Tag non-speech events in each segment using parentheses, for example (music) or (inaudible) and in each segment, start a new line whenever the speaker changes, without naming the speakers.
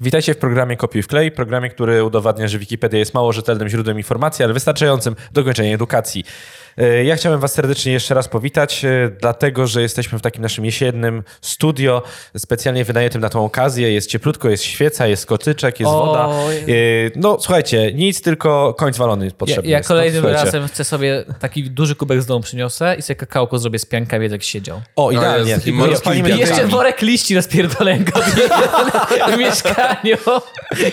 Witajcie w programie Kopiuj w Klej, programie, który udowadnia, że Wikipedia jest mało rzetelnym źródłem informacji, ale wystarczającym do kończenia edukacji. E, Ja chciałem Was serdecznie jeszcze raz powitać, e, dlatego że jesteśmy w takim naszym jesiennym studio, specjalnie wynajętym na tą okazję. Jest cieplutko, jest świeca, jest kotyczek, jest
O,
woda. E, No słuchajcie, nic, tylko koń zwalony
Ja,
potrzebny
ja
jest. No,
kolejnym
słuchajcie.
razem chcę sobie taki duży kubek z domu przyniosę i sobie kakałko zrobię z pianka, jak siedział.
O,
No,
idealnie.
jest i
No,
morski
odpalimy
I
Pianka.
jeszcze
piekarnik.
worek liści rozpierdolę w (laughs) mieszkaniu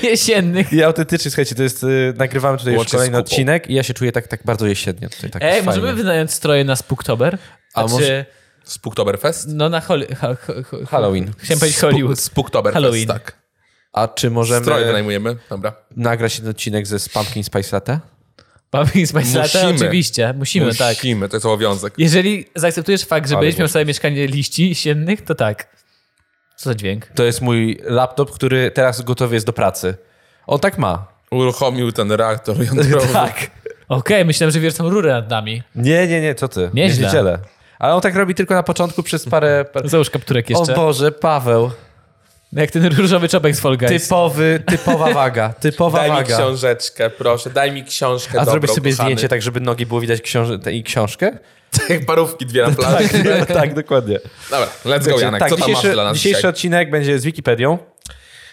jesiennych.
I autentycznie, słuchajcie, to jest, y, nagrywamy tutaj już
Łącznie z
kolejny
kupą.
odcinek i ja się czuję tak, tak bardzo jesiennie tutaj. Tak
Ej,
fajnie.
E, możemy wynająć stroje na Spooktober?
A
Znaczy,
może- Spooktoberfest?
No na holi... ha- ha- ha-
Halloween.
Chciałem powiedzieć
Spu-
Hollywood.
Spooktoberfest,
Halloween.
tak.
A czy możemy
Stroje wynajmujemy, dobra.
nagrać jeden odcinek ze z Pumpkin Spice Latte?
Pumpkin Spice Latte,
Musimy.
oczywiście. Musimy, tak.
Musimy, to jest obowiązek.
Jeżeli zaakceptujesz fakt, że
Ale
będziesz miał
właśnie.
sobie mieszkanie liści jesiennych, to tak. Co za dźwięk?
To jest mój laptop, który teraz gotowy jest do pracy. On tak ma.
(laughs) Uruchomił ten reaktor jądrowy.
Tak.
Okej, myślałem, że wiercą rurę nad nami.
Nie, nie, nie, co ty?
Nieźle.
Nieźle. Ale on tak robi tylko na początku przez
(laughs)
parę... parę...
Załóż kapturek
O
jeszcze.
Boże, Paweł.
Jak ten różowy czopek z Fall Guys.
Typowy, typowa waga. Typowa
Daj mi
waga.
książeczkę, proszę, daj mi książkę
A
dobrą,
zrobisz sobie
kochany.
zdjęcie tak, żeby nogi było widać książ- i
(laughs)
książkę?
Jak parówki dwie na plaży. (laughs)
tak, dokładnie.
Dobra, let's go Janek,
tak,
co tam masz
dzisiejszy,
dla nas
dzisiejszy
dzisiaj?
odcinek będzie z Wikipedią.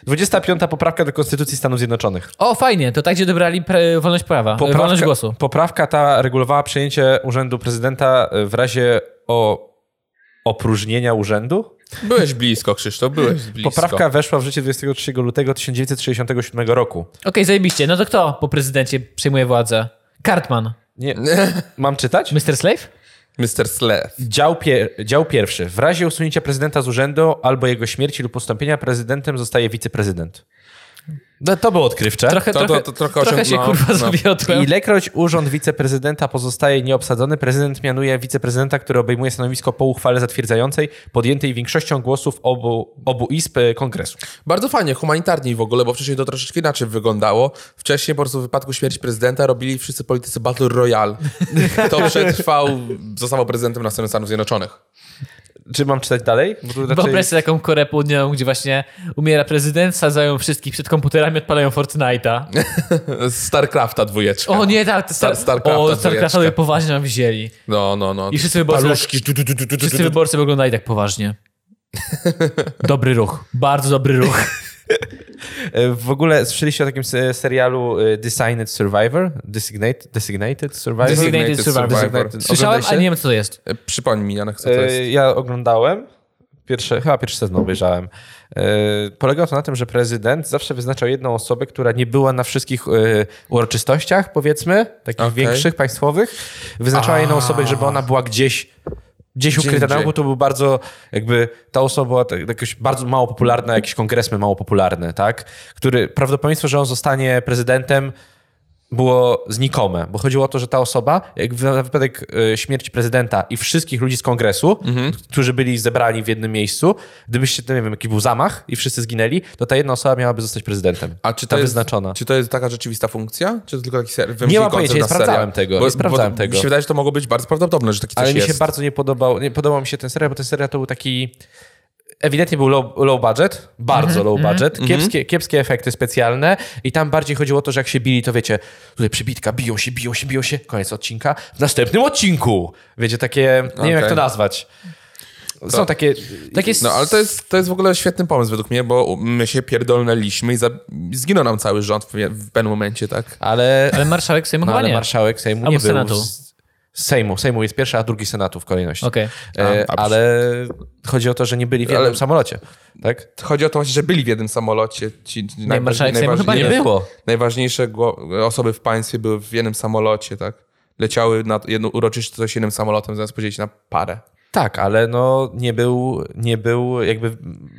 25. poprawka do Konstytucji Stanów Zjednoczonych.
O, fajnie, to tak, gdzie dobrali pre- wolność prawa, e, wolność głosu.
poprawka ta regulowała przejęcie urzędu prezydenta e, w razie o opróżnienia urzędu.
Byłeś blisko, Krzysztof, byłeś blisko.
Mm, Poprawka weszła w życie 23 lutego 1967 roku.
Okej, zajebiście. No to kto po prezydencie przejmuje władzę?
(laughs)
Cartman.
Nie, mam czytać?
Mr. Slave?
Mr. Slew.
Dział, pier, dział pierwszy. W razie usunięcia prezydenta z urzędu albo jego śmierci lub ustąpienia prezydentem zostaje wiceprezydent. No, to było odkrywcze.
Trochę,
To- to-
trochę,
to
trochę,
trochę
się
osiągnąłem,
kurwa
no.
zawiodłem.
Ilekroć urząd wiceprezydenta pozostaje nieobsadzony, prezydent mianuje wiceprezydenta, który obejmuje stanowisko po uchwale zatwierdzającej podjętej większością głosów obu, obu izb e, kongresu.
Bardzo fajnie, humanitarniej w ogóle, bo wcześniej to troszeczkę inaczej wyglądało. Wcześniej po prostu w wypadku śmierci prezydenta robili wszyscy politycy Battle
(laughs)
Royale. To przetrwał, został prezydentem następnych Stanów Zjednoczonych.
Czy mam czytać dalej? Bo tu raczej-
Wyobraź sobie taką Koreę Południową, gdzie właśnie umiera prezydent, sadzają wszystkich przed komputerami, odpalają Fortnite'a.
Starcrafta dwójeczka.
O nie, tak. Star,
Star- Starcrafta
o,
dwójeczka.
Starcrafta sobie poważnie nam wzięli.
No, no, no.
I wszyscy wyborcy, tak,
Paluszki. Du, du, du, du, du, du,
wszyscy
du.
wyborcy wyglądali tak poważnie. Dobry ruch. Bardzo dobry ruch.
E, W ogóle słyszeliście o takim se- serialu e, Designated Survivor? Designated, designated Survivor?
Designated Survivor.
Designated.
Słyszałem, a
Oglądaliście?
nie wiem, co to jest.
E, Przypomnij mi, Janek, co to jest.
E, Ja oglądałem. Pierwsze, chyba pierwszy sezon obejrzałem. E, Polegało to na tym, że prezydent zawsze wyznaczał jedną osobę, która nie była na wszystkich e, uroczystościach, powiedzmy, takich
Okej.
większych, państwowych. Wyznaczała jedną osobę, żeby ona była gdzieś gdzieś
Gdzie
ukryta. Na
indziej.
ogół to był bardzo, jakby ta osoba była tak, jakoś bardzo mało popularna, jakiś kongresmen mało popularny, tak? Który, prawdopodobieństwo, że on zostanie prezydentem było znikome, bo chodziło o to, że ta osoba, jak w- na wypadek e, śmierci prezydenta i wszystkich ludzi z kongresu, którzy byli zebrani w jednym miejscu, gdybyście, no nie wiem, jaki był zamach i wszyscy zginęli, to ta jedna osoba miałaby zostać prezydentem.
A czy
ta
to, jest,
wyznaczona.
czy to jest taka rzeczywista funkcja? Czy to tylko taki ser- wymyślili
mam
koncept
pojęcia, nie
na serial?
sprawdzałem tego, nie sprawdzałem
bo,
tego.
Mi się wydaje, że to mogło być bardzo prawdopodobne, że taki
Ale
coś
mi się
jest.
bardzo nie podobał, nie podobał mi się ten serial, bo ten serial to był taki ewidentnie był low, low budget,
Mhm,
bardzo low budget,
Mhm.
kiepskie, kiepskie efekty specjalne i tam bardziej chodziło o to, że jak się bili, to wiecie, tutaj przybitka, biją się, biją się, biją się, koniec odcinka, w następnym odcinku, wiecie, takie, nie wiem jak to
Okej.
nazwać. Są
To-
takie...
Takie
No, ale to jest, to jest w ogóle świetny pomysł według mnie, bo my się pierdolnęliśmy i za... zginął nam cały rząd w, w pewnym momencie, tak?
Ale,
Ale marszałek Sejmu
no,
chyba
ale
nie.
marszałek Sejmu
Albo
nie był...
Senatu.
z- Sejmu, Sejmu jest pierwszy, a drugi Senatu w kolejności.
Okej.
E,
A, a,
ale chodzi o to, że nie byli w jednym
Ale-
samolocie, tak?
Chodzi o to właśnie, że byli w jednym samolocie. Ci ci najważ-
marszałek Sejmu chyba
najważniejsi-
nie był.
było.
Najważniejsze gło- osoby w państwie były w jednym samolocie, tak? Leciały na jedną uroczystość jednym samolotem, zamiast podzielić na parę.
Tak, ale no nie był, nie był jakby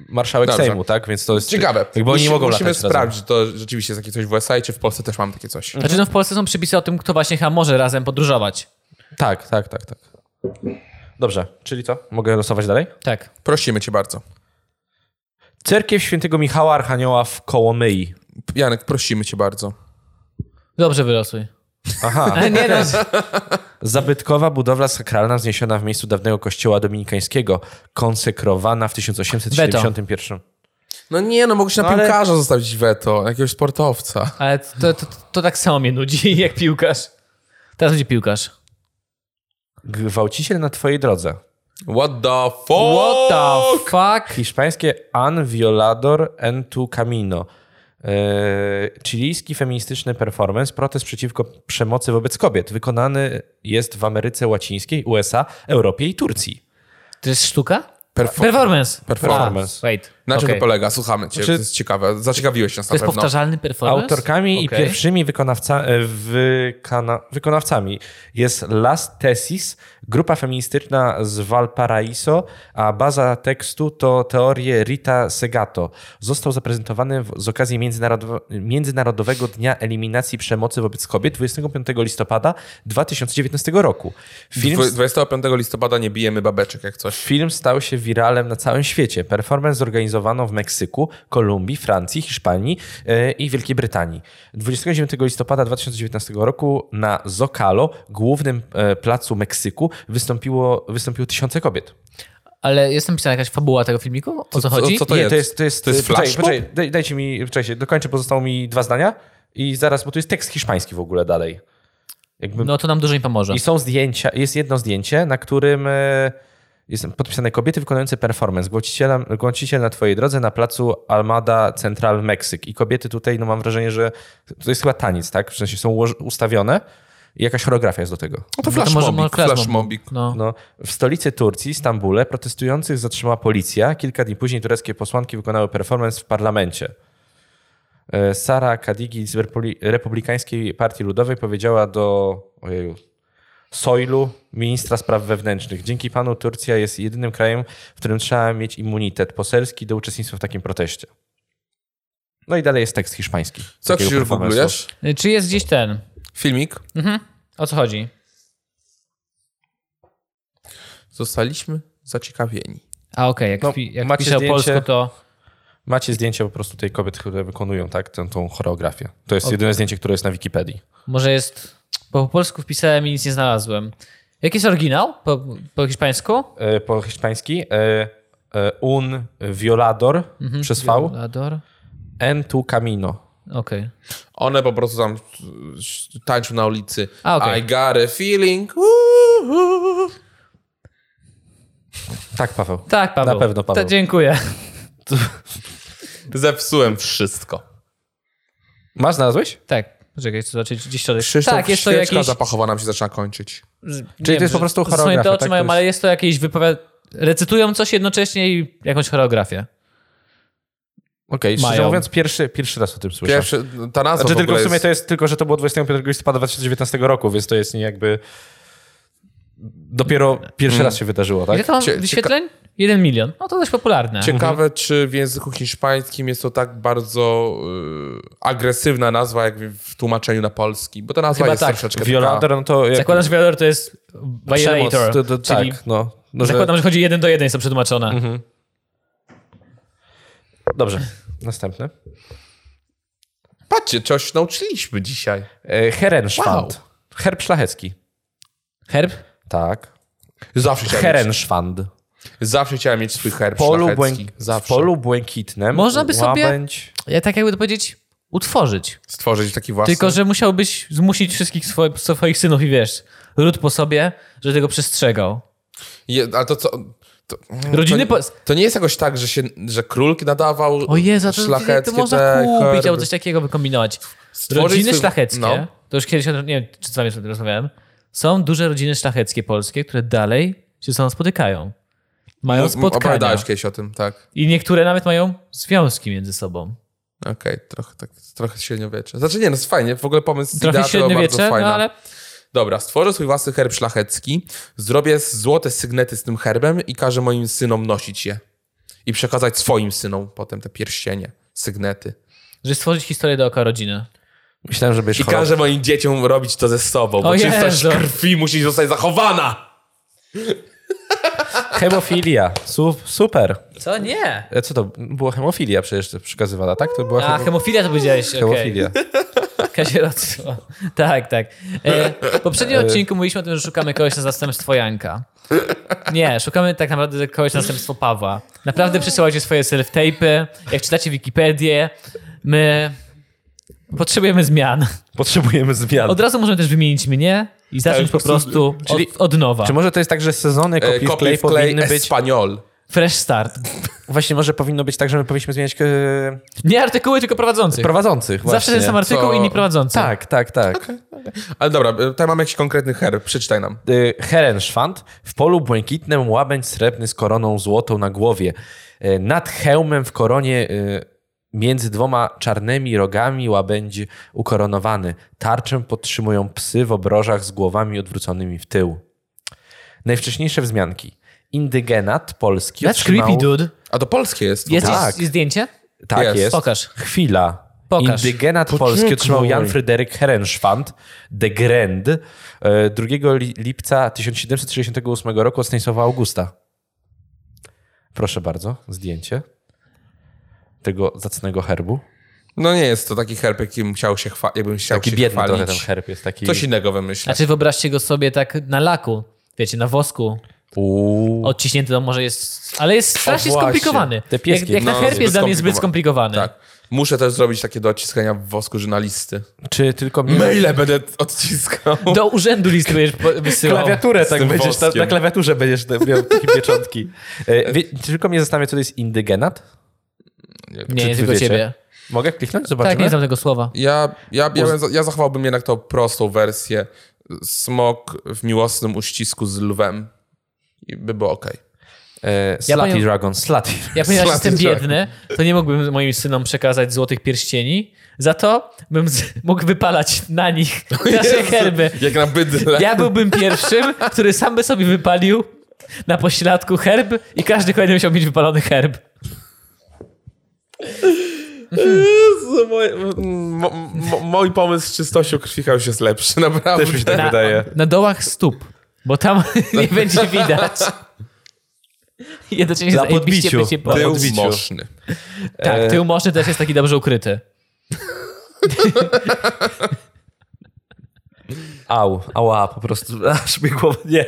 marszałek
Dobrze.
Sejmu, tak? Więc to jest
Ciekawe.
Jakby oni nie
Musi-
mogą
Musimy
latać razem.
sprawdzić, czy to rzeczywiście jest takie coś w USA i czy w Polsce też mamy takie coś.
Znaczy, no w Polsce są przepisy o tym, kto właśnie chyba może razem podróżować.
Tak, tak, tak, tak. Dobrze, czyli co? Mogę losować dalej?
Tak.
Prosimy cię bardzo.
Cerkiew świętego Michała Archanioła w Kołomyi.
Janek, prosimy cię bardzo.
Dobrze wylosuj.
Aha.
(laughs) Ale nie no,
Zabytkowa budowla sakralna wzniesiona w miejscu dawnego kościoła dominikańskiego, konsekrowana w 1871.
No nie, no mogę się na
No ale-
piłkarza zostawić weto, jakiegoś sportowca.
Ale to, to, to, to tak samo mnie nudzi (laughs) jak piłkarz. Teraz będzie piłkarz.
Gwałciciel na twojej drodze.
What the fuck?
What the fuck?
Hiszpańskie An Violador en tu Camino. Yy, Chilijski feministyczny performance, protest przeciwko przemocy wobec kobiet, wykonany jest w Ameryce Łacińskiej, USA, Europie i Turcji.
To jest sztuka?
Perfo-
Performance.
Performance.
A, wait.
na czym
Okej.
Znaczy, to polega? Słuchamy cię,
Znaczy-
to jest ciekawe. Zaciekawiłeś nas
To
na
jest
pewno.
powtarzalny performance?
Autorkami
Okej.
i pierwszymi wykonawca, e, wykana, wykonawcami jest Las Tesis, grupa feministyczna z Valparaiso, a baza tekstu to teorie Rita Segato. Został zaprezentowany w, z okazji Międzynarodowe, Międzynarodowego Dnia Eliminacji Przemocy wobec Kobiet 25 listopada 2019 roku. Film,
Dwu- 25 listopada nie bijemy babeczek jak coś.
film stał się wiralem na całym świecie. Performance zorganizowano w Meksyku, Kolumbii, Francji, Hiszpanii e, i Wielkiej Brytanii. 29 listopada 2019 roku na Zocalo, głównym e, placu Meksyku, wystąpiło, wystąpiło tysiące kobiet.
Ale jest napisana jakaś fabuła tego filmiku? O co chodzi?
co to
Nie,
jest?
To jest, to jest,
To jest
poczekaj,
flash
poczekaj, daj, dajcie mi, czekajcie, dokończę, pozostało mi dwa zdania i zaraz, bo tu jest tekst hiszpański w ogóle dalej. Jakby
No to nam dużo nie pomoże.
I są zdjęcia, jest jedno zdjęcie, na którym e, jest podpisane kobiety wykonujące performance, Głącicielem- głąciciel na twojej drodze na placu Almada Central Meksyk. I kobiety tutaj, no mam wrażenie, że to jest chyba taniec, tak? W sensie są ułoż- ustawione i jakaś choreografia jest do tego.
No to
No to może- może
flashmobik,
flashmob.
flashmobik.
No.
No, w stolicy Turcji, Stambule, protestujących zatrzymała policja. Kilka dni później tureckie posłanki wykonały performance w parlamencie. E, Sara Kadigi z Repuli- Republikańskiej Partii Ludowej powiedziała do ojeju, Sojlu, ministra spraw wewnętrznych. Dzięki panu Turcja jest jedynym krajem, w którym trzeba mieć immunitet poselski do uczestnictwa w takim proteście. No i dalej jest tekst hiszpański.
Co
takiego
Krzysiu
performance'u.
googlujesz?
Y, Czy jest gdzieś ten?
Filmik.
Mhm. O co chodzi?
Zostaliśmy zaciekawieni.
A okej, jak,
No,
wpi- jak
macie
pisze o
zdjęcie?
polsku, to...
Macie zdjęcie po prostu tej kobiet, które wykonują tak, tę, tą choreografię. To jest jedyne zdjęcie, które jest na Wikipedii.
Może jest... Bo po polsku wpisałem i nic nie znalazłem. Jaki jest oryginał po, po hiszpańsku?
e, po hiszpański. e, e, Un violador przez V.
Mhm, Violador.
En tu camino.
Okej.
One po prostu tam y, tańczą na ulicy.
A, okej.
I got a feeling. uhu.
Tak, Paweł.
Tak, Paweł.
Na pewno, Paweł.
To dziękuję.
Zepsułem wszystko.
Masz, znalazłeś?
Tak. Poczekaj, chcę zobaczyć gdzieś środek.
Krzysztof,
tak, jest to jakiś...
zapachowa nam się zaczyna kończyć.
Czyli
to jest po prostu
Swoje
choreografia,
te oczy
tak?
mają,
To jest-
ale jest to jakieś wypowiad... Recytują coś jednocześnie i jakąś choreografię.
Okej, szczerze
Mają.
mówiąc, pierwszy, pierwszy raz o tym słyszę.
Pierwszy, ta nazwa
znaczy,
w
tylko
ogóle
w sumie
jest...
to
Mhm.
jest tylko, że to było 25 listopada 2019 roku, więc to jest nie jakby. Dopiero pierwszy raz się wydarzyło,
Ile
tak?
Mm. to mam
Cie-
wyświetleń? Jeden milion. No to dość popularne.
Ciekawe, czy w języku hiszpańskim jest to tak bardzo y, agresywna nazwa, jak w w tłumaczeniu na polski, bo ta nazwa
Chyba
jest
tak.
troszeczkę
Violador,
taka...
no to. Jak
Zakładasz wiador, to jest
przemoc,
violator.
to, to,
czyli
Tak, no. no że... Mhm.
Zakładam, że chodzi jeden do jeden, jest to przetłumaczone.
Dobrze, następny.
Patrzcie, coś się nauczyliśmy dzisiaj.
E, Herenschwand. Herb szlachecki.
Herb?
Tak.
Zawsze chciałem, mieć,
Herenschwand.
zawsze chciałem mieć swój herb
polu,
szlachecki.
błęk- w
Zawsze.
polu błękitnym.
Można by sobie-
łabędź,
Ja tak jakby to powiedzieć, utworzyć.
Stworzyć taki własny...
Tylko, że musiałbyś zmusić wszystkich swoich, swoich synów i wiesz, ród po sobie, że tego przestrzegał.
Je, ale to co... To, mm,
Rodziny
to,
po-
nie- to nie jest jakoś tak, że, się, że król nadawał
O Jezu, a to, to,
szlacheckie
to można
te
kupić
herby.
albo coś takiego wykombinować.
Stworzyć
rodziny
swój-
szlacheckie,
no.
to już kiedyś, o tym- nie wiem, czy z wami o tym rozmawiałem, są duże rodziny szlacheckie polskie, które dalej się ze sobą spotykają. Mają
Mów-
spotkania.
Opowiadałeś kiedyś o tym, tak.
I niektóre nawet mają związki między sobą.
Okej, trochę tak, trochę średniowiecze. Znaczy nie, no jest fajnie, w ogóle pomysł z
Trochę
idea to
średniowiecze,
bardzo fajna.
no ale
Dobra, stworzę swój własny herb szlachecki, zrobię złote sygnety z tym herbem i każę moim synom nosić je. I przekazać swoim synom potem te pierścienie, sygnety.
że stworzyć historię dookoła rodziny.
Myślałem, że będziesz
I każę moim dzieciom robić to ze sobą,
O
bo czystość
Jezu.
krwi musi zostać zachowana!
Hemofilia. Su- super.
Co? Nie.
E, Co to? Była hemofilia przecież przekazywana, tak? To była
A,
hemo-
hemofilia to powiedziałeś, okej. (laughs)
hemofilia.
Kasieroctwo. (laughs) Tak, tak. E, w poprzednim odcinku mówiliśmy o tym, że szukamy kogoś na zastępstwo Janka. Nie, szukamy tak naprawdę kogoś na zastępstwo Pawła. Naprawdę przesyłajcie swoje self-tape'y, jak czytacie Wikipedię. My potrzebujemy zmian.
Potrzebujemy zmian.
Od razu możemy też wymienić mnie i zacząć
po
po
prostu-
prostu
Tak, czyli-
od, od nowa.
Czy może to jest tak, że sezony
E,
kopii,
Kopiuj w klej
powinny być...
Espanyol.
Fresh start.
Właśnie może powinno być tak, że my powinniśmy zmieniać e,
Nie artykuły, tylko prowadzących.
prowadzących.
Zawsze
właśnie.
ten sam artykuł,
To-
inni prowadzący.
Tak, tak, tak.
Ale dobra, e, tutaj mamy jakiś konkretny herb, przeczytaj nam.
Y, Herenszwand, w polu błękitnym łabędź srebrny z koroną złotą na głowie. Y, Nad hełmem w koronie y, między dwoma czarnymi rogami łabędzi ukoronowany. Tarczę podtrzymują psy w obrożach z głowami odwróconymi w tył. Najwcześniejsze wzmianki. Indygenat polski
That's
otrzymał...
creepy, dude.
A to polskie jest.
Jest,
Tak.
jest, jest zdjęcie?
Tak
Jest.
jest.
Pokaż.
Chwila.
Pokaż.
Indygenat polski otrzymał Jan Fryderyk Herenschwand de Grand e, 2 li- lipca 1768 roku od Stanisława Augusta. Proszę bardzo, zdjęcie tego zacnego herbu.
No nie jest to taki herb, jakim chciał się chwa- jakbym chciał
Taki
się
biedny trochę ten
chwalić.
herb jest. Taki...
Coś innego wymyślę.
Znaczy wyobraźcie go sobie tak na laku, wiecie, na wosku,
Uuu.
odciśnięty, to może jest, ale jest strasznie
właśnie,
skomplikowany.
te pieski.
jak jak
No,
na herb
zbyt
jest dla mnie zbyt skomplikowany.
Tak. Muszę też zrobić takie do odciskania w wosku, że na listy.
Czy tylko mnie...
(laughs) Maile będę odciskał.
Tak.
Do urzędu list będziesz po- wysyłał.
Klawiaturę
z
tak
tym
będziesz, na,
woskiem.
na klawiaturze będziesz miał (laughs) takie pieczątki. E, wie, czy tylko mnie zastanawia, co to jest indygenat?
Nie, jest
wy
tylko
wiecie?
ciebie.
Mogę kliknąć?
Tak,
Zobaczymy.
nie znam tego słowa.
Ja, ja, ja, bym za- ja zachowałbym jednak tą prostą wersję. Smok w miłosnym uścisku z lwem. I by było okej.
e,
Ja
Slutty
powiem-
Dragon, Slutty.
Ja ponieważ
Slaty
tak.
jestem
Jack.
biedny, to nie mógłbym moim synom przekazać złotych pierścieni, za to bym z- mógł wypalać na nich nasze herby.
Jak na (laughs) bydle.
Tak.
Ja byłbym pierwszym, który sam by sobie wypalił na pośladku herb i każdy kolejny musiał mieć wypalony herb.
Jezu, No, moje- mo, mo, mój pomysł z czystością krwi chyba już jest lepszy, (laughs) naprawdę.
Też mi się tak
Na,
wydaje. Tak.
na dołach stóp, bo tam (laughs) nie będzie widać. Jednocześnie
Na
zajebiście
podbiciu.
będzie po-
Tył- e-
Był
odbiciu.
moszny.
Tak, tył moszny też jest taki dobrze ukryty.
Au, ała, po prostu (laughs) aż mi głowa nie.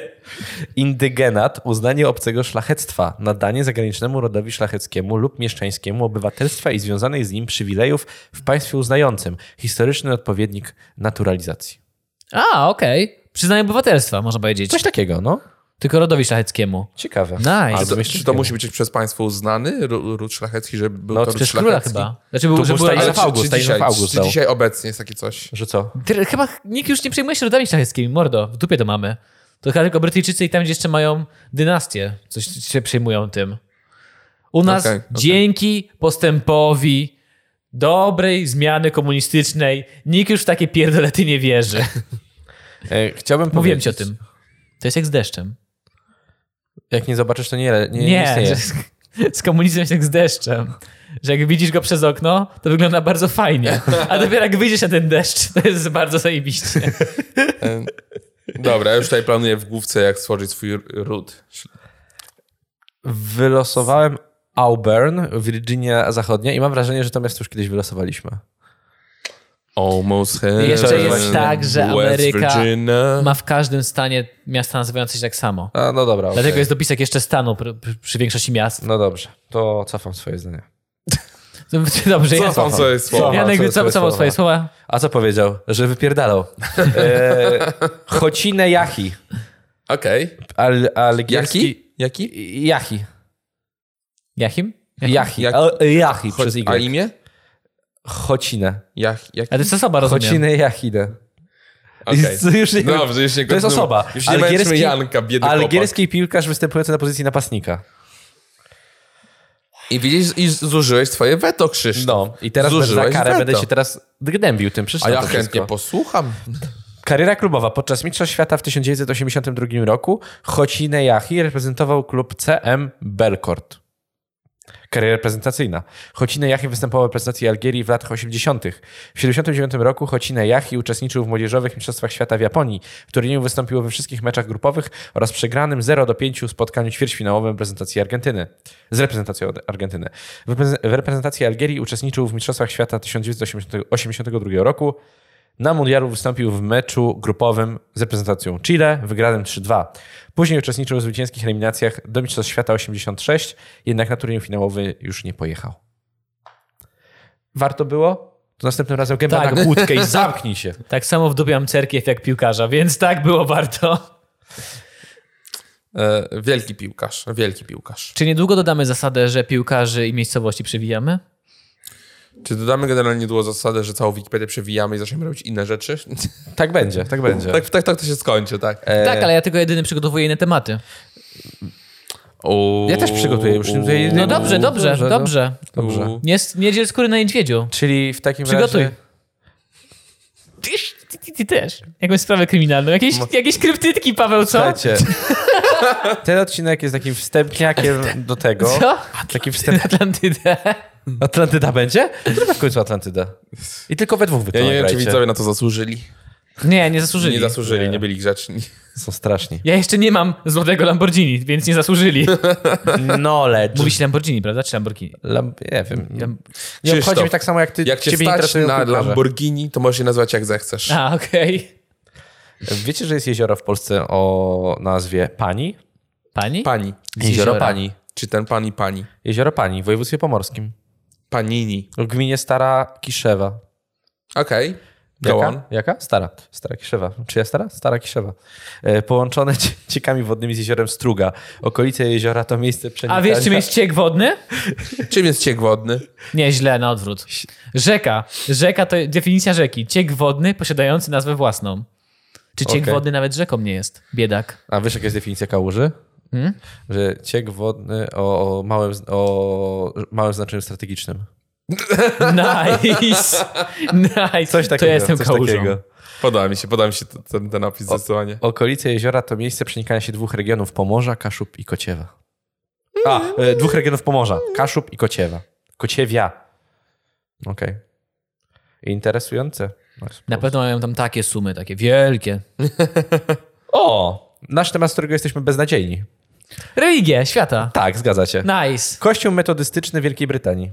Indygenat, uznanie obcego szlachectwa, nadanie zagranicznemu rodowi szlacheckiemu lub mieszczańskiemu obywatelstwa i związanych z nim przywilejów w państwie uznającym. Historyczny odpowiednik naturalizacji.
A, okej. Przyznanie obywatelstwa, można powiedzieć.
Coś takiego, no.
Tylko rodowi szlacheckiemu.
Ciekawe.
Nice.
Albo
Czy
To,
jeszcze
czy to
nie.
musi być przez państwo uznany ru- ród szlachecki, żeby był
No,
to ród
przecież
Króla
szlachecki?
chyba. Znaczy, był,
To
że
był
była...
Stanisław
Ale czy,
August,
czy,
Stanisław
dzisiaj,
August
czy
dał.
dzisiaj obecnie jest takie coś?
Że co?
Ty- Chyba nikt już nie przejmuje się rodami szlacheckimi, mordo. W dupie to mamy. To chyba tylko Brytyjczycy i tam, gdzie jeszcze mają dynastię, coś się przejmują tym. U nas
Okej, okej.
dzięki postępowi dobrej zmiany komunistycznej nikt już w takie pierdolety nie
(laughs)
wierzy.
E, chciałbym
Mówiłem
powiedzieć.
ci o tym. To jest jak z deszczem.
Jak nie zobaczysz, to nie, nie, nie,
Nie, że
istnieje.
z, z komunizmem jest jak z deszczem. Że jak widzisz go przez okno, to wygląda bardzo fajnie. A dopiero jak wyjdziesz na ten deszcz, to jest bardzo zajebiście.
(laughs)
E, Dobra, ja już tutaj planuję w główce, jak stworzyć swój r- ród.
Wylosowałem Auburn, Virginia Zachodnia i mam wrażenie, że to miasto już kiedyś wylosowaliśmy.
Almost heaven.
Jeszcze jest tak, że
West
Ameryka
Virginia.
ma w każdym stanie miasta nazywające się tak samo.
A, no dobra. okej.
Dlatego jest dopisek jeszcze stanu pr- pr- przy większości miast. No,
No dobrze, to cofam swoje zdanie.
(laughs) Dobrze, ja
Cofam sobie słowa.
Cofam
Janek
sobie
wycofał
słowa.
swoje, słowa.
A co powiedział? Że wypierdalał. E, Chocinę Jachi.
Okej.
Al, algierski...
Jaki? Jaki?
Jachi.
Jachim?
Jachi.
Jak-
Al- Jachi przez
A
Y.
imię?
Chocinę.
Jach, jaki?
A to jest osoba, rozumiem.
Chocinę Jachidę.
Okej.
I- Już nie
Dobrze, już nie
to jest
kontynuuj-
osoba.
Już nie męczmy Janka, biedny algierski...
Algierski piłkarz występujący na pozycji napastnika.
I widzisz, i zużyłeś swoje weto, Krzysztof.
No i teraz będę za
Zużyłeś
karę
weto.
będę się teraz gnębił tym. Przeczytam
A ja
to
chętnie
wszystko.
posłucham.
Kariera klubowa. Podczas Mistrzostw Świata w 1982 roku Chocine Jachi reprezentował klub CM Belkort. Kariera reprezentacyjna. Chocine Jachi występował w reprezentacji Algierii w latach 80. W 79 roku Chocine Jachi uczestniczył w młodzieżowych mistrzostwach świata w Japonii. W turnieju wystąpiło we wszystkich meczach grupowych oraz przegranym 0 do 5 spotkaniu ćwierćfinałowym reprezentacji Argentyny. Z reprezentacją Argentyny. W reprezentacji Algierii uczestniczył w mistrzostwach świata 1982 roku. Na mundialu wystąpił w meczu grupowym z reprezentacją Chile, wygranym 3-2. Później uczestniczył w zwycięskich eliminacjach do Mistrzostw Świata 86, jednak na turniej finałowy już nie pojechał. Warto było? To następnym razem gęba
Tak.
na kłódkę i zamknij się.
Tak samo wdupiam cerkiew jak piłkarza, więc tak było warto.
E, wielki piłkarz, wielki piłkarz.
(laughs) Czy niedługo dodamy zasadę, że piłkarzy i miejscowości przewijamy?
Czy dodamy generalnie niedługo zasadę, że całą Wikipedię przewijamy i zaczniemy robić inne (laughs) rzeczy?
Tak będzie, tak będzie.
tak, tak, tak to się skończy, tak.
E,
Tak, ale ja tylko jedyny przygotowuję inne tematy.
Uuu.
Ja też przygotuję już. Tutaj-
No dobrze, dobrze,
Dobrze,
dobrze.
no. Dobrze.
Nie, nie dziel skóry na niedźwiedziu.
Czyli w takim
Przygotuj.
razie...
Ty, ty, ty, ty też. Jakąś sprawę kryminalną. Jakieś, jakieś kryptytki, Paweł, co?
Słuchajcie, ten odcinek jest takim wstępniakiem do tego.
Co? (laughs)
Taki wstęp...
Atlantydę.
Atlantyda będzie? Zróbmy w końcu Atlantyda. I tylko we dwóch
Ja nie wiem, czy
wyciągnijcie.
widzowie na to zasłużyli.
Nie, nie zasłużyli.
Nie zasłużyli,
Nie.
nie byli
(laughs)
grzeczni.
Są straszni.
Ja jeszcze nie mam złotego Lamborghini, więc nie
(laughs)
zasłużyli.
Knowledge.
Mówi się Lamborghini, prawda? Czy Lamborghini?
Lam... Nie wiem.
Lam-
Nie obchodzi
Krzysztof,
mnie tak samo jak ty.
Jak cię
ciebie nie
stać
interesują
na
piłkarze.
Lamborghini, to możesz się nazywać jak zechcesz.
A, okej.
Wiecie, że jest jezioro w Polsce o nazwie Pani?
Pani?
Pani.
Jezioro
jeziora.
Pani.
Czy ten pan i pani?
Jezioro Pani w województwie pomorskim.
Panini.
W gminie Stara Kiszewa.
Okej. Go on.
Jaka? Jaka? Stara. Stara Kiszewa. Czy ja stara? Stara Kiszewa. E, Połączone cie- ciekami wodnymi z jeziorem Struga. Okolice jeziora to miejsce przenikania...
A wiesz, czym jest ciek wodny?
Czym jest ciek wodny?
Nie, źle, na odwrót. Rzeka. Rzeka to definicja rzeki. Ciek wodny posiadający nazwę własną. Czy ciek
Okej.
wodny nawet rzeką nie jest? Biedak.
A wiesz, jaka jest definicja kałuży?
Hmm?
Że ciek wodny o, o, małym, z- o małym znaczeniu strategicznym. (laughs)
Nice. Nice.
Coś takiego.
To ja jestem
coś
kałużą.
takiego.
Podoba mi się, podoba mi się t- ten, ten opis zdecydowanie.
Okolice jeziora to miejsce przenikania się dwóch regionów Pomorza, Kaszub i Kociewa. A, e, dwóch regionów Pomorza. Kaszub i Kociewa. Kociewia. Okej. Interesujące.
Na pewno mają tam takie sumy, takie wielkie.
O! Nasz temat, z którego jesteśmy beznadziejni.
Religie świata.
Tak, zgadzacie.
Nice.
Kościół metodystyczny Wielkiej Brytanii.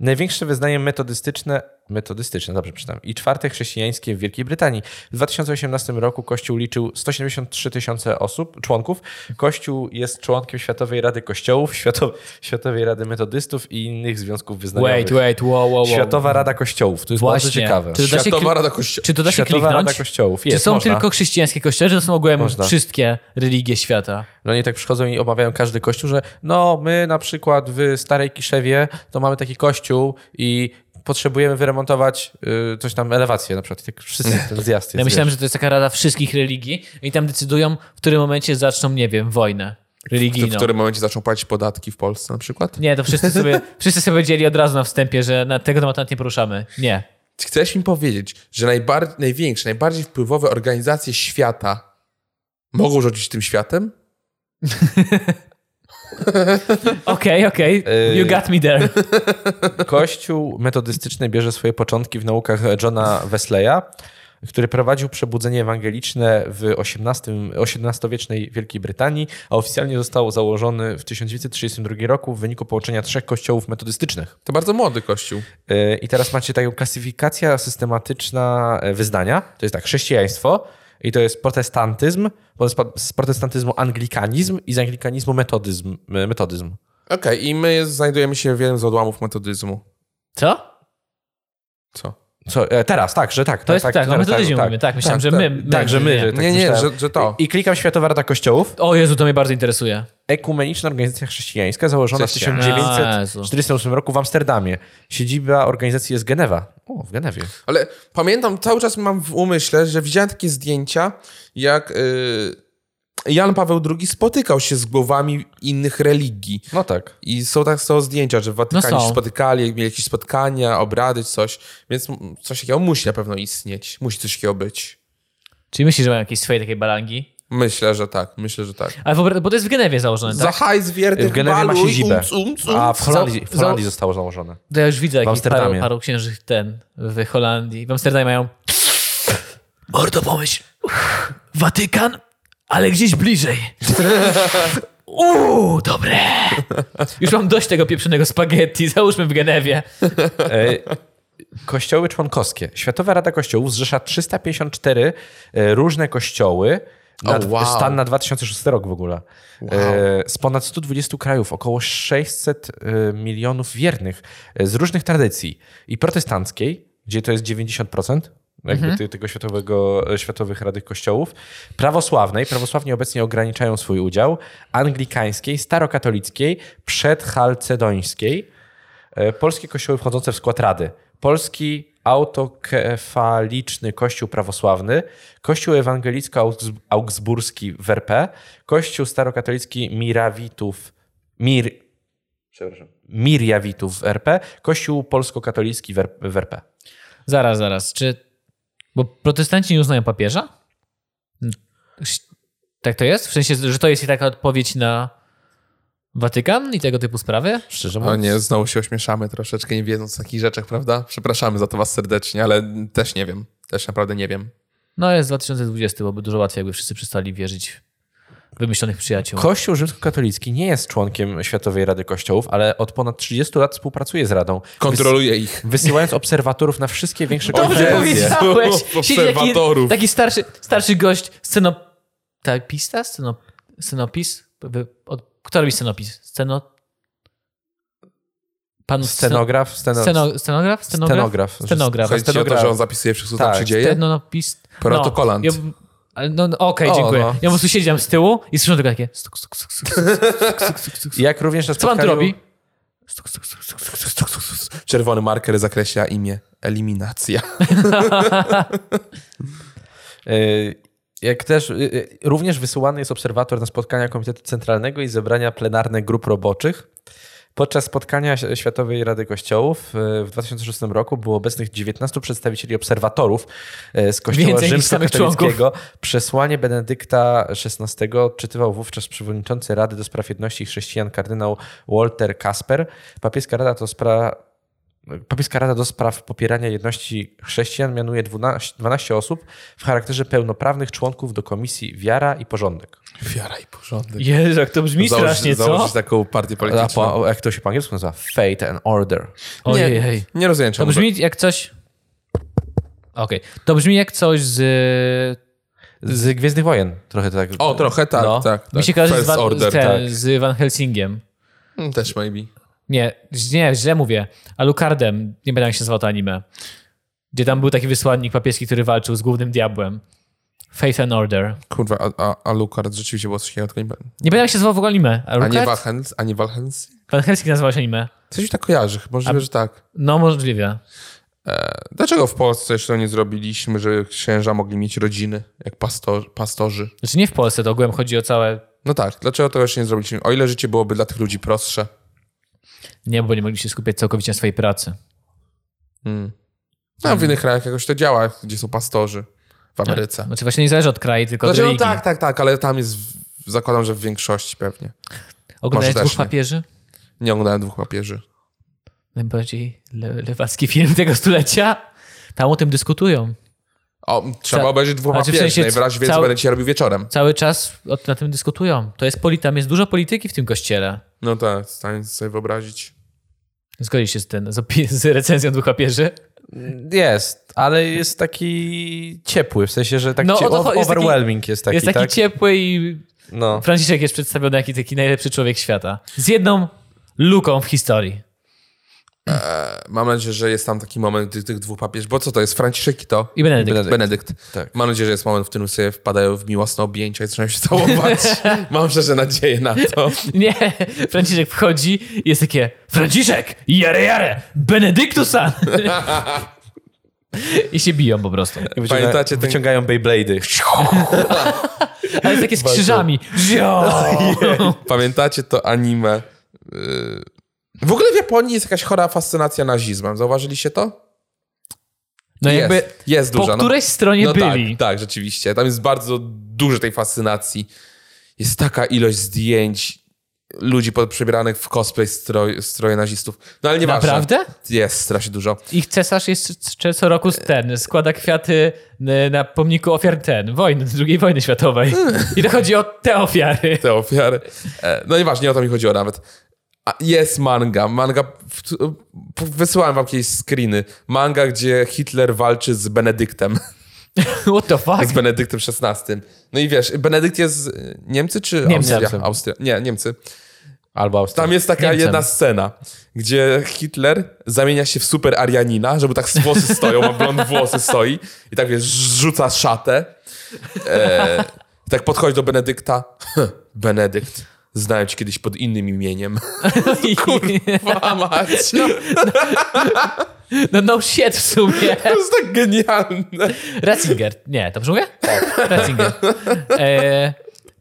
Największe wyznanie metodystyczne, metodystyczne, dobrze przeczytam, i czwarte chrześcijańskie w Wielkiej Brytanii. W 2018 roku Kościół liczył 173 tysiące osób, członków. Kościół jest członkiem Światowej Rady Kościołów, Świato, Światowej Rady Metodystów i innych związków wyznaniowych.
Wait, wait, wow, wow, wow.
Światowa Rada Kościołów, to jest
Właśnie.
bardzo ciekawe.
Czy to da się
Światowa
kli-
Rada Kościoła.
Czy to da się
Światowa Rada
kliknąć?
Kościołów.
Czy
Jest,
są
można.
tylko chrześcijańskie kościoły, czy to są ogółem
Można.
wszystkie religie świata?
No oni tak przychodzą i omawiają każdy kościół, że no my na przykład w Starej Kiszewie to mamy taki kościół i potrzebujemy wyremontować y, coś tam, elewację na przykład. I tak wszyscy ten
(laughs)
zjazd jest.
Ja myślałem,
wiesz.
że to jest taka rada wszystkich religii i tam decydują, w którym momencie zaczną, nie wiem, wojnę
Czy w
religijną.
którym momencie zaczną płacić podatki w Polsce na przykład?
Nie, to wszyscy
(laughs)
sobie, wszyscy sobie wiedzieli od razu na wstępie, że na tego tematu nawet nie poruszamy. Nie.
Chcesz mi powiedzieć, że najbar- największe, najbardziej wpływowe organizacje świata mogą rządzić tym światem?
Okej, okej,
Yy.
you got
(laughs)
me there.
Kościół metodystyczny bierze swoje początki w naukach Johna Wesleya, który prowadził przebudzenie ewangeliczne w XVIII, XVIII-wiecznej Wielkiej Brytanii, a oficjalnie został założony w 1932 roku w wyniku połączenia trzech kościołów metodystycznych.
To bardzo młody kościół.
E, I teraz macie taką klasyfikacja systematyczna e, wyznania. To jest tak, chrześcijaństwo i to jest protestantyzm, bo z po- z protestantyzmu anglikanizm i z anglikanizmu metodyzm. e, metodyzm.
Okej, i my znajdujemy się w jednym z odłamów metodyzmu.
Co?
Co?
Co, e, teraz, tak, że tak.
To jest tak, tak, o
teraz,
metodyzmie mówimy. Tak, myślałem,
Tak,
że
tak.
my, my.
Tak, że my, że tak
nie, nie,
myślałem.
że, że to.
I, I klikam Światowa Rada Kościołów,
O Jezu, to mnie bardzo interesuje.
ekumeniczna organizacja chrześcijańska założona w
Chrześcijan.
1948 roku w Amsterdamie. Siedziba organizacji jest Genewa. O, w Genewie.
Ale pamiętam, cały czas mam w umyśle, że widziałem takie zdjęcia, jak y, Jan Paweł II spotykał się z głowami innych religii.
No tak.
I są tak są zdjęcia, że w Watykanie
No są.
się spotykali, mieli jakieś spotkania, obrady, coś. Więc m- coś takiego musi na pewno istnieć. Musi coś takiego być.
Czyli myślisz, że mają jakieś swoje takie balangi?
Myślę, że tak. Myślę, że tak.
Ale wyobraź, bo to jest w Genewie założone,
Za
tak?
hajs wiernych
W Genewie ma
baluj,
siedzibę.
umc, umc, umc.
A w Holandii, w
Za-
Holandii zostało założone.
To ja już widzę jakich paru,
Amsterdamie.
paru księży ten w Holandii. W Amsterdamie mają... Mordo, pomyśl. Watykan, ale gdzieś bliżej. Uuu, dobre. Już mam dość tego pieprzonego spaghetti. Załóżmy w Genewie.
E, kościoły członkowskie. Światowa Rada Kościołów zrzesza 354 e, różne kościoły. Na,
O, wow.
Stan na 2006 rok w ogóle. E, Z ponad 120 krajów, około 600 e, milionów wiernych e, z różnych tradycji. I protestanckiej, gdzie to jest 90% jakby
Mhm.
ty- tego światowego, e, światowych rady kościołów, prawosławnej, prawosławni obecnie ograniczają swój udział, anglikańskiej, starokatolickiej, przedhalcedońskiej, E, polskie kościoły wchodzące w skład Rady. Polski autokefaliczny Kościół Prawosławny, Kościół Ewangelicko-Augsburski w RP, Kościół Starokatolicki Mirawitów, Mir, Mirjawitów w RP, Kościół Polsko-Katolicki w R- w RP.
Zaraz, zaraz. Czy. Bo protestanci nie uznają papieża? Tak to jest? W sensie, że to jest i taka odpowiedź na Watykan i tego typu sprawy?
Szczerze
No
mówiąc,
nie, znowu się ośmieszamy troszeczkę, nie wiedząc o takich rzeczach, prawda? Przepraszamy za to was serdecznie, ale też nie wiem. Też naprawdę nie wiem.
No jest 2020, byłoby dużo łatwiej, jakby wszyscy przestali wierzyć w wymyślonych przyjaciół.
Kościół rzymskokatolicki nie jest członkiem Światowej Rady Kościołów, ale od ponad 30 lat współpracuje z Radą. Wys-
Kontroluje ich.
Wysyłając obserwatorów na wszystkie większe
Dobrze
Jezu.
konferencje.
powiedziałeś!
(laughs)
Siedzi taki,
Obserwatorów.
taki starszy, starszy gość, scenopista? Scenop, scenopis? Wy- Od, kto robi scenopis? Sceno... Pan sceno,
Scenograf, sceno...
sceno, scenograf? Scenograf.
Scenograf.
Scenograf.
Chodzi ci o to,
stenograf.
że on zapisuje wszystko, co tam
Tak,
się dzieje?
Stenopis...
Protokolant.
No, ja, ale no, no, okej,
O,
dziękuję.
no.
Ja po prostu siedziałem z tyłu i słyszę tylko takie... Stuk, stuk, stuk, stuk, stuk, stuk, stuk, stuk.
Jak również na
Co pan tu
spotkaniu-
robi?
Czerwony marker zakreśla imię. Eliminacja.
Y, Jak też y, y, również wysyłany jest obserwator na spotkania Komitetu Centralnego i zebrania plenarne grup roboczych. Podczas spotkania Ś- Światowej Rady Kościołów y, w 2006 roku było obecnych 19 przedstawicieli obserwatorów y, z Kościoła
Więcej niż samych
Rzymskokatolickiego. Przesłanie Benedykta XVI odczytywał wówczas przewodniczący Rady do Spraw Jedności Chrześcijan kardynał Walter Kasper. Papieska Rada to spra... Papieska Rada do spraw popierania jedności chrześcijan mianuje 12, 12 osób w charakterze pełnoprawnych członków do Komisji Wiara i Porządek.
Wiara i porządek.
Jezu, jak to brzmi strasznie, co?
założyć taką partię
A
polityczną.
po, jak to się po angielsku nazywa? Fate and Order.
Ojej,
nie,
hej.
nie rozumiem
To
czemu.
brzmi jak coś... Okej. To brzmi jak coś z...
Z Gwiezdnych Wojen trochę tak.
O, trochę tak,
No.
tak, tak.
Mi się kojarzy z
First
Van,
order,
z, ten,
tak.
z Van Helsingiem.
Mm, Też maybe.
Nie, ź- nie, źle mówię. Alucardem, nie będę jak się nazywał to anime. Gdzie tam był taki wysłannik papieski, który walczył z głównym diabłem. Faith and Order.
Kurwa, a, a, Alucard rzeczywiście było coś takiego, tylko nie pamiętam.
Nie będę jak się nazywał w ogóle anime.
A nie
Alucard?
Valhens? A nie Valhens?
Van Helsing nazywał się anime.
Coś mi tak kojarzy, możliwe, że tak.
No możliwe.
Dlaczego w Polsce jeszcze nie zrobiliśmy, że księża mogli mieć rodziny, jak pastor, pastorzy?
Znaczy nie w Polsce, to ogółem chodzi o całe...
No tak, dlaczego tego jeszcze nie zrobiliśmy? O ile życie byłoby dla tych ludzi prostsze.
Nie, bo nie mogli się skupiać całkowicie na swojej pracy.
No,
Hmm.
w innych krajach jakoś to działa, gdzie są pastorzy w Ameryce.
Znaczy właśnie nie zależy od kraju, tylko od
Tak. Znaczy, no
religii.
tak, tak, tak, ale tam jest, w- zakładam, że w większości pewnie.
Oglądałeś
Może też
dwóch
nie.
papieży?
Nie oglądałem dwóch papieży.
Najbardziej le lewacki film (laughs) tego stulecia. Tam o tym dyskutują.
O, trzeba
Ca-
obejrzeć dwóch
znaczy, w
papieży,
sensie
najwyraźniej
ca-
więcej
cały-
będę ci robił wieczorem.
Cały czas o, na tym dyskutują. To jest poli, tam jest dużo polityki w tym kościele.
No tak, w stanie sobie wyobrazić.
Zgodzi się z, ten, z, opi- (laughs) z recenzją dwóch papieży?
Jest, ale jest taki ciepły, w sensie, że tak
No,
cie...
o to chodzi- jest taki-
overwhelming jest taki.
jest taki
tak?
ciepły i
No.
Franciszek jest przedstawiony jako taki najlepszy człowiek świata. Z jedną luką w historii. (laughs)
E, Mam nadzieję, że jest tam taki moment tych, tych dwóch papież, bo co to jest? Franciszek i to?
I Benedykt.
Benedykt.
Tak.
Mam nadzieję, że jest moment, w którym sobie wpadają w miłosne objęcia i zaczynają się
(laughs)
całować. Mam szczerze nadzieję na to.
Nie, Franciszek wchodzi i jest takie Franciszek, jare jare,
(laughs)
Benedyktusa! I się biją po prostu.
Wyciąga...
Pamiętacie ten-
Wyciągają Beyblade'y.
Ale jest takie z krzyżami.
(laughs)
Pamiętacie to anime? Yy, W ogóle w Japonii jest jakaś chora fascynacja nazizmem. Zauważyliście to?
No
jest,
jakby
jest
po
duża. no.
którejś stronie
no tak,
byli.
tak, rzeczywiście. Tam jest bardzo dużo tej fascynacji. Jest taka ilość zdjęć ludzi pod- przebieranych w cosplay stroj, stroje nazistów. No ale nieważne.
Naprawdę?
Jest strasznie dużo.
Ich cesarz jest c- co roku ten, składa kwiaty n- na pomniku ofiar ten, wojny, II wojny światowej. I to chodzi o te ofiary.
te ofiary. E, No nieważne, nie o to mi chodziło nawet. A Jest manga. Manga. w- w- Wysyłałem wam jakieś screeny. Manga, gdzie Hitler walczy z Benedyktem.
What the fuck?
Z Benedyktem XVI. No i wiesz, Benedykt jest y, Niemcy czy
Niemcy.
Austria? Austria? Nie, Niemcy.
Albo Austria.
Tam jest taka
Niemcem.
jedna scena, gdzie Hitler zamienia się w super Arianina, żeby tak z włosy stoją, ma blond włosy stoi i tak wiesz, rzuca szatę. E, i tak podchodzi do Benedykta. Benedykt, znałem cię kiedyś pod innym imieniem. (laughs) Kurwa mać.
No no shit w sumie.
To jest tak genialne.
Ratzinger. Nie, dobrze mówię? Tak. Ratzinger. E,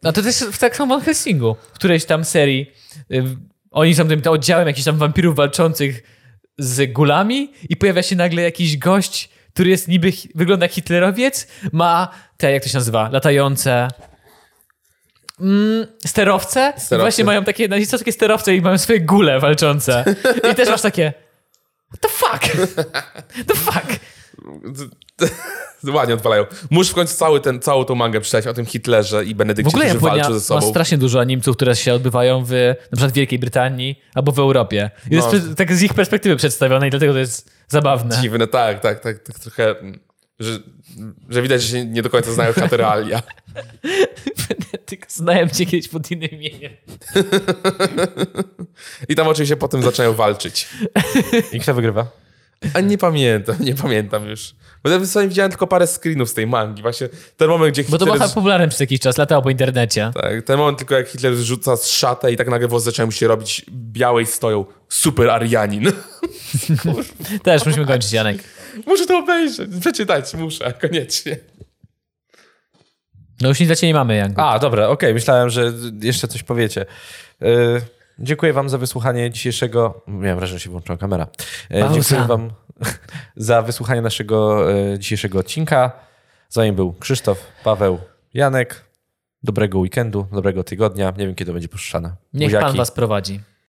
no to też w tak samo Van Helsingu, w którejś tam serii e, w- oni są tym oddziałem jakichś tam wampirów walczących z gulami i pojawia się nagle jakiś gość, który jest niby, hi- wygląda jak hitlerowiec, ma te, jak to się nazywa, latające mm, sterowce. I
Sterowce.
Właśnie mają takie nazistowskie sterowce i mają swoje gule walczące. I też masz takie What the fuck? (laughs) The fuck?
Ładnie odwalają. Muszę w końcu cały ten, całą tą mangę przeczytać o tym Hitlerze i
W
Benedykcie,
ogóle
którzy
Japonia
walczą ze
ma
sobą.
strasznie dużo animców, które się odbywają w na przykład Wielkiej Brytanii albo w Europie. I to
No.
jest prze- tak z ich perspektywy przedstawione i dlatego to jest zabawne.
Dziwne, tak, tak, tak, tak trochę, mm, że, że widać, że się nie do końca znają te realia.
(laughs) Tylko znałem cię kiedyś pod innym imieniem.
I tam oczywiście potem zaczynają walczyć.
I kto wygrywa?
A nie pamiętam, nie pamiętam już. Bo ja w zasadzie widziałem tylko parę screenów z tej mangi. Właśnie ten moment, gdzie
Bo to
Hitler...
było tak popularne przez jakiś czas, latało po internecie.
tak, ten moment tylko jak Hitler rzuca z szatę i tak nagle włosy zaczynają mu się robić białe i stoją. Super Arianin. (laughs) Tak.
Też musimy kończyć, Janek.
muszę to obejrzeć, przeczytać muszę, koniecznie.
No już nic dla ciebie nie mamy, Janku.
A, dobra, okej, myślałem, że jeszcze coś powiecie. Y, dziękuję wam za wysłuchanie dzisiejszego... Miałem wrażenie, że się włączyła kamera. Y,
Pauza.
dziękuję wam (laughs) za wysłuchanie naszego y, dzisiejszego odcinka. Za nim był Krzysztof, Paweł, Janek. Dobrego weekendu, dobrego tygodnia. Nie wiem, kiedy będzie puszczana.
Niech
Buziaki.
pan was prowadzi.